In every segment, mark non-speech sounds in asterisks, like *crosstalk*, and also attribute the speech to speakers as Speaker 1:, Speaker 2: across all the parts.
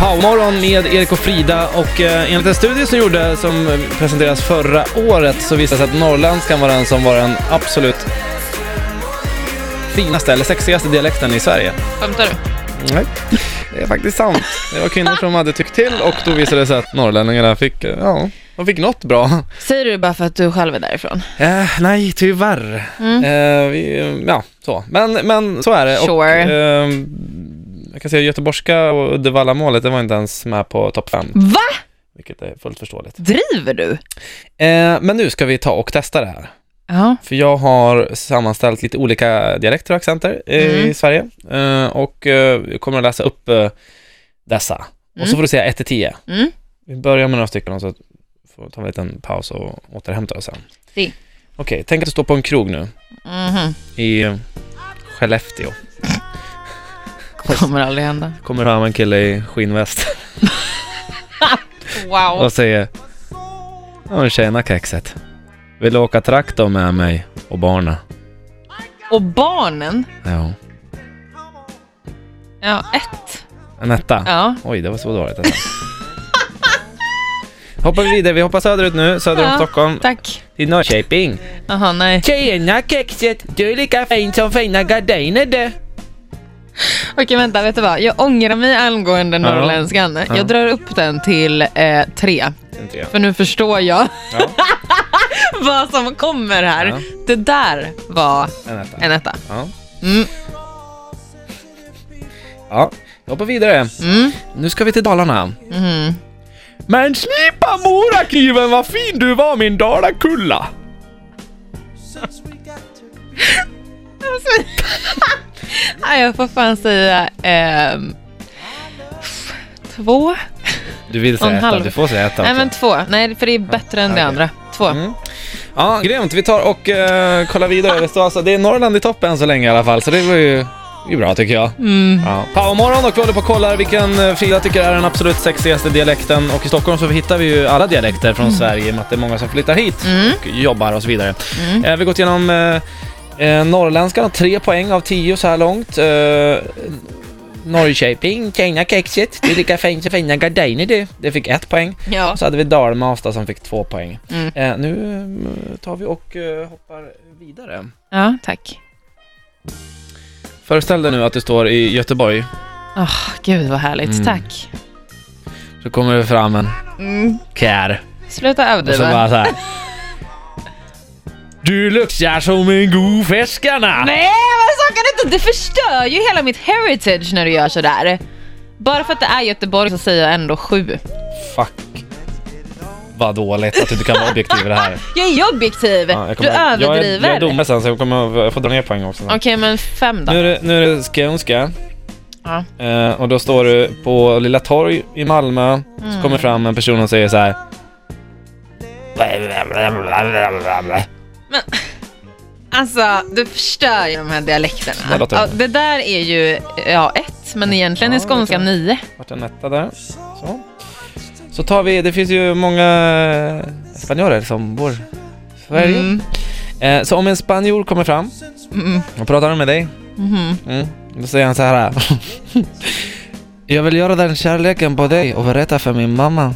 Speaker 1: Powermorgon med Erik och Frida och eh, enligt en studie som gjorde som eh, presenteras förra året så visade det sig att norrländskan var den som var den absolut finaste eller sexigaste dialekten i Sverige.
Speaker 2: Skämtar du?
Speaker 1: Nej, det är faktiskt sant. Det var kvinnor som hade tyckt till och då visade det sig att norrlänningarna fick, eh, ja, de fick något bra.
Speaker 2: Säger du det bara för att du själv är därifrån?
Speaker 1: Eh, nej, tyvärr.
Speaker 2: Mm.
Speaker 1: Eh, vi, eh, ja, så. Men, men så är det.
Speaker 2: Sure.
Speaker 1: Och, eh, jag kan säga göteborgska och Uddevallamålet, det var inte ens med på topp fem.
Speaker 2: Va?
Speaker 1: vilket är fullt förståeligt.
Speaker 2: Driver du?
Speaker 1: Eh, men nu ska vi ta och testa det här.
Speaker 2: Ja.
Speaker 1: För jag har sammanställt lite olika dialekter och accenter eh,
Speaker 2: Mm.
Speaker 1: i Sverige. Eh, och eh, jag kommer att läsa upp eh, dessa. Och så
Speaker 2: Mm.
Speaker 1: får du säga 1 till 10.
Speaker 2: Mm.
Speaker 1: Vi börjar med några stycken och så får vi ta en liten paus och återhämta oss sen.
Speaker 2: Si.
Speaker 1: Okej, tänk att du står på en krog nu
Speaker 2: Mhm.
Speaker 1: i eh, Skellefteå.
Speaker 2: Kommer aldrig hända.
Speaker 1: Kommer fram en kille i skinnväst
Speaker 2: Wow.
Speaker 1: och säger "Ja, Tjena kexet. Vill du åka traktor med mig och barnen?
Speaker 2: Och barnen?
Speaker 1: Ja.
Speaker 2: Ja, ett.
Speaker 1: En etta?
Speaker 2: Ja.
Speaker 1: Oj, det var så dåligt. alltså. Hoppar vi vidare, vi hoppar söderut nu, söder om
Speaker 2: Ja.
Speaker 1: Stockholm,
Speaker 2: Tack.
Speaker 1: till Norrköping.
Speaker 2: Jaha, nej.
Speaker 1: Tjena kexet, du är lika fin som fina gardiner du.
Speaker 2: Okej, vänta. Vet du vad? Jag ångrar mig angående norrländskan.
Speaker 1: Ja.
Speaker 2: Jag drar upp den till eh, tre. För nu förstår jag
Speaker 1: Ja.
Speaker 2: *laughs* vad som kommer här.
Speaker 1: Ja.
Speaker 2: Det där var
Speaker 1: En etta.
Speaker 2: en etta.
Speaker 1: Ja.
Speaker 2: Mm.
Speaker 1: ja, vi hoppar vidare.
Speaker 2: Mm.
Speaker 1: Nu ska vi till Dalarna.
Speaker 2: Mm.
Speaker 1: Men slipa morakniven, vad fin du var min dalakulla.
Speaker 2: Nej, jag får fan säga ehm, två.
Speaker 1: Du vill
Speaker 2: Och en
Speaker 1: säga etta,
Speaker 2: halv.
Speaker 1: du får säga etta
Speaker 2: Nej,
Speaker 1: också.
Speaker 2: men två. Nej, för det är bättre än det
Speaker 1: okej.
Speaker 2: andra. Två.
Speaker 1: Mm. Ja, grymt. Vi tar och eh, kollar vidare. Det, står alltså, det är Norrland i toppen än så länge i alla fall, så det var ju det är bra tycker jag.
Speaker 2: Mm.
Speaker 1: Ja. Powermorgon och vi håller på och kollar vilken eh, Frida tycker är den absolut sexigaste dialekten. Och i Stockholm så hittar vi ju alla dialekter från Sverige i och med att det är många som flyttar hit
Speaker 2: Mm.
Speaker 1: och jobbar och så vidare.
Speaker 2: Mm.
Speaker 1: Eh, vi har gått igenom eh, eh, norrländskan, och tre poäng av tio så här långt. Eh, Norrköping, tjena kexet, du är lika fin som fina gardiner du. Det fick ett poäng.
Speaker 2: Ja.
Speaker 1: Och så hade vi Dalmasta som fick två poäng.
Speaker 2: Mm.
Speaker 1: Eh, nu eh, tar vi och eh, hoppar vidare.
Speaker 2: ja, tack.
Speaker 1: Föreställ dig nu att du står i Göteborg.
Speaker 2: Åh, gud vad härligt.
Speaker 1: Mm.
Speaker 2: Tack.
Speaker 1: Så kommer det fram en
Speaker 2: Mm.
Speaker 1: kär.
Speaker 2: Sluta
Speaker 1: Och så
Speaker 2: överdriva.
Speaker 1: bara så här. Du luktar som en god färskarna.
Speaker 2: Nej, men så kan du inte! Det förstör ju hela mitt heritage när du gör sådär. Bara för att det är Göteborg så säger jag ändå sju.
Speaker 1: Fuck. Vad dåligt att du inte kan vara objektiv i det här.
Speaker 2: Jag är objektiv!
Speaker 1: Ja, jag
Speaker 2: du
Speaker 1: kommer-
Speaker 2: överdriver.
Speaker 1: Jag är, jag är domare sen så jag kommer jag får dra ner poäng också.
Speaker 2: Okej, men fem då.
Speaker 1: Nu är det, nu är det skånska.
Speaker 2: Ja.
Speaker 1: Eh, och då står du på Lilla Torg i Malmö. Så kommer fram en person och säger så här.
Speaker 2: Men, alltså, du förstör ju de
Speaker 1: Ja,
Speaker 2: här dialekterna.
Speaker 1: låt det.
Speaker 2: Ja, det där är ju ja, ett, men egentligen är
Speaker 1: Ja,
Speaker 2: skånska
Speaker 1: lite.
Speaker 2: nio.
Speaker 1: Vart en etta där. Så. Så tar vi, det finns ju många eh, spanjorer som bor i Sverige.
Speaker 2: Mm.
Speaker 1: Eh, så om en spanjor kommer fram
Speaker 2: Mm.
Speaker 1: och pratar med dig.
Speaker 2: Mhm.
Speaker 1: Mm, då säger han så *laughs* här. Jag vill göra den kärleken på dig och berätta för min mamma.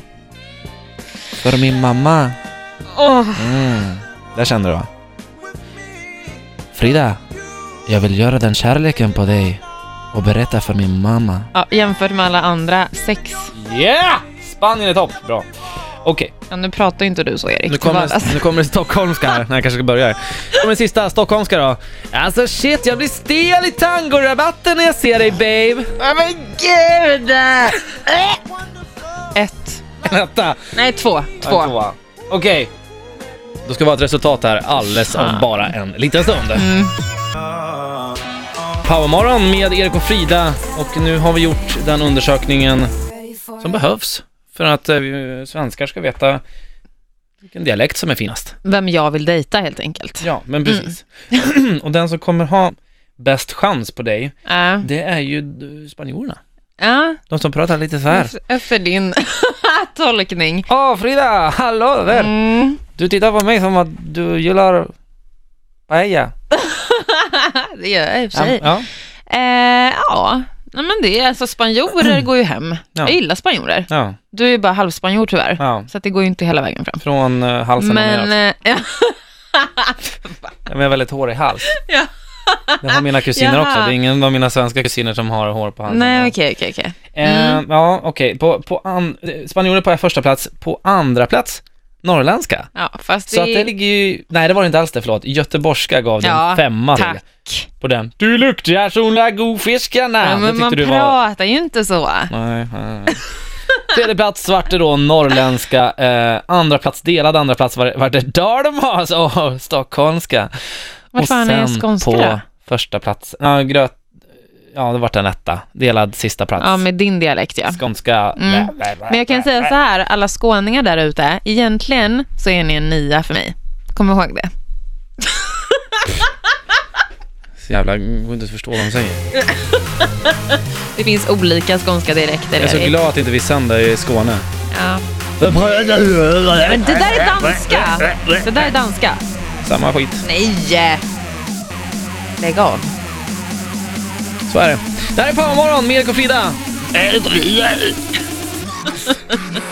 Speaker 1: För min mamma.
Speaker 2: Åh,
Speaker 1: Mm. Där kände du va? Frida, jag vill göra den kärleken på dig och berätta för min mamma.
Speaker 2: Ja, jämfört med alla andra, sex.
Speaker 1: Yeah! Spanien är topp! Bra. Okej,
Speaker 2: Ja, nu pratar ju inte du så Erik.
Speaker 1: nu,
Speaker 2: till vardags.
Speaker 1: kommer, nu kommer det stockholmska här. Nej, jag kanske ska börja här. Nu kommer den sista, stockholmska då. Alltså shit, jag blir stel i tangorabatten när jag ser dig babe.
Speaker 2: Nej men gud! Ett.
Speaker 1: Vänta.
Speaker 2: Nej, två.
Speaker 1: Ja,
Speaker 2: Två.
Speaker 1: tvåa. Okej. Då ska vi ha ett resultat här alldeles om
Speaker 2: Fan.
Speaker 1: bara en liten stund. Powermorgon med Erik och Frida och nu har vi gjort den undersökningen som behövs för att eh, vi svenskar ska veta vilken dialekt som är finast.
Speaker 2: Vem jag vill dejta helt enkelt.
Speaker 1: Ja, men precis. *clears throat* och den som kommer ha bäst chans på dig,
Speaker 2: Ja.
Speaker 1: det är ju eh, spanjorerna.
Speaker 2: Ja,
Speaker 1: De som pratar lite så här.
Speaker 2: efter din *laughs* tolkning.
Speaker 1: Åh Frida, hallå där!
Speaker 2: Mm.
Speaker 1: Du tittar på mig som att du gillar paella.
Speaker 2: Det gör jag i och för sig.
Speaker 1: Ja.
Speaker 2: Eh, ja, Nej men det är alltså spanjorer går ju hem.
Speaker 1: Ja.
Speaker 2: Jag gillar spanjorer.
Speaker 1: Ja,
Speaker 2: Du är ju bara halvspanjor tyvärr.
Speaker 1: ja.
Speaker 2: Så att det går ju inte hela vägen fram.
Speaker 1: Från eh, halsen och
Speaker 2: Men,
Speaker 1: neråt.
Speaker 2: eh, ja,
Speaker 1: Jag har väldigt hårig hals.
Speaker 2: *laughs* Ja.
Speaker 1: Det har mina kusiner
Speaker 2: Jaha.
Speaker 1: också. Det är ingen av mina svenska kusiner som har hår på halsen.
Speaker 2: nej okej okej okej. Mm.
Speaker 1: Eh, ja, okej. På, på an- eh, spanjorer på första plats. På andra plats, norrländska.
Speaker 2: Ja fast
Speaker 1: Så att det
Speaker 2: det,
Speaker 1: ligger ju... Nej, det var det inte alls det. Förlåt. Göteborgska gav den
Speaker 2: Ja,
Speaker 1: femma till.
Speaker 2: tack.
Speaker 1: På den. Du luktar som la godfiskarna.
Speaker 2: Ja,
Speaker 1: Det
Speaker 2: men
Speaker 1: tyckte
Speaker 2: man
Speaker 1: du var...
Speaker 2: pratar ju inte så.
Speaker 1: Nej, nej, nej. Tredje plats svarte då norrländska, eh, andra plats delad, andra plats var, var det dalmas och stockholmska.
Speaker 2: Vad
Speaker 1: och
Speaker 2: fan är
Speaker 1: sen
Speaker 2: skånska
Speaker 1: på
Speaker 2: då?
Speaker 1: första plats, ja gröt, ja det vart en etta, delad sista plats.
Speaker 2: Ja med din dialekt ja.
Speaker 1: Skånska,
Speaker 2: Mm.
Speaker 1: Bä, bä, bä,
Speaker 2: Men jag kan
Speaker 1: bä,
Speaker 2: säga
Speaker 1: bä.
Speaker 2: så här, alla skåningar där ute, egentligen så är ni en nia för mig. Kom ihåg det.
Speaker 1: Så jävla, jag går inte att förstå vad de säger.
Speaker 2: Det finns olika skånska dialekter.
Speaker 1: Jag är så
Speaker 2: Erik.
Speaker 1: glad att inte vi sänder i Skåne.
Speaker 2: Ja. Men det där är danska! Det där är danska.
Speaker 1: Samma skit.
Speaker 2: Nej! Lägg av.
Speaker 1: Så är det. Det här är Powermorgon med Erik och Frida.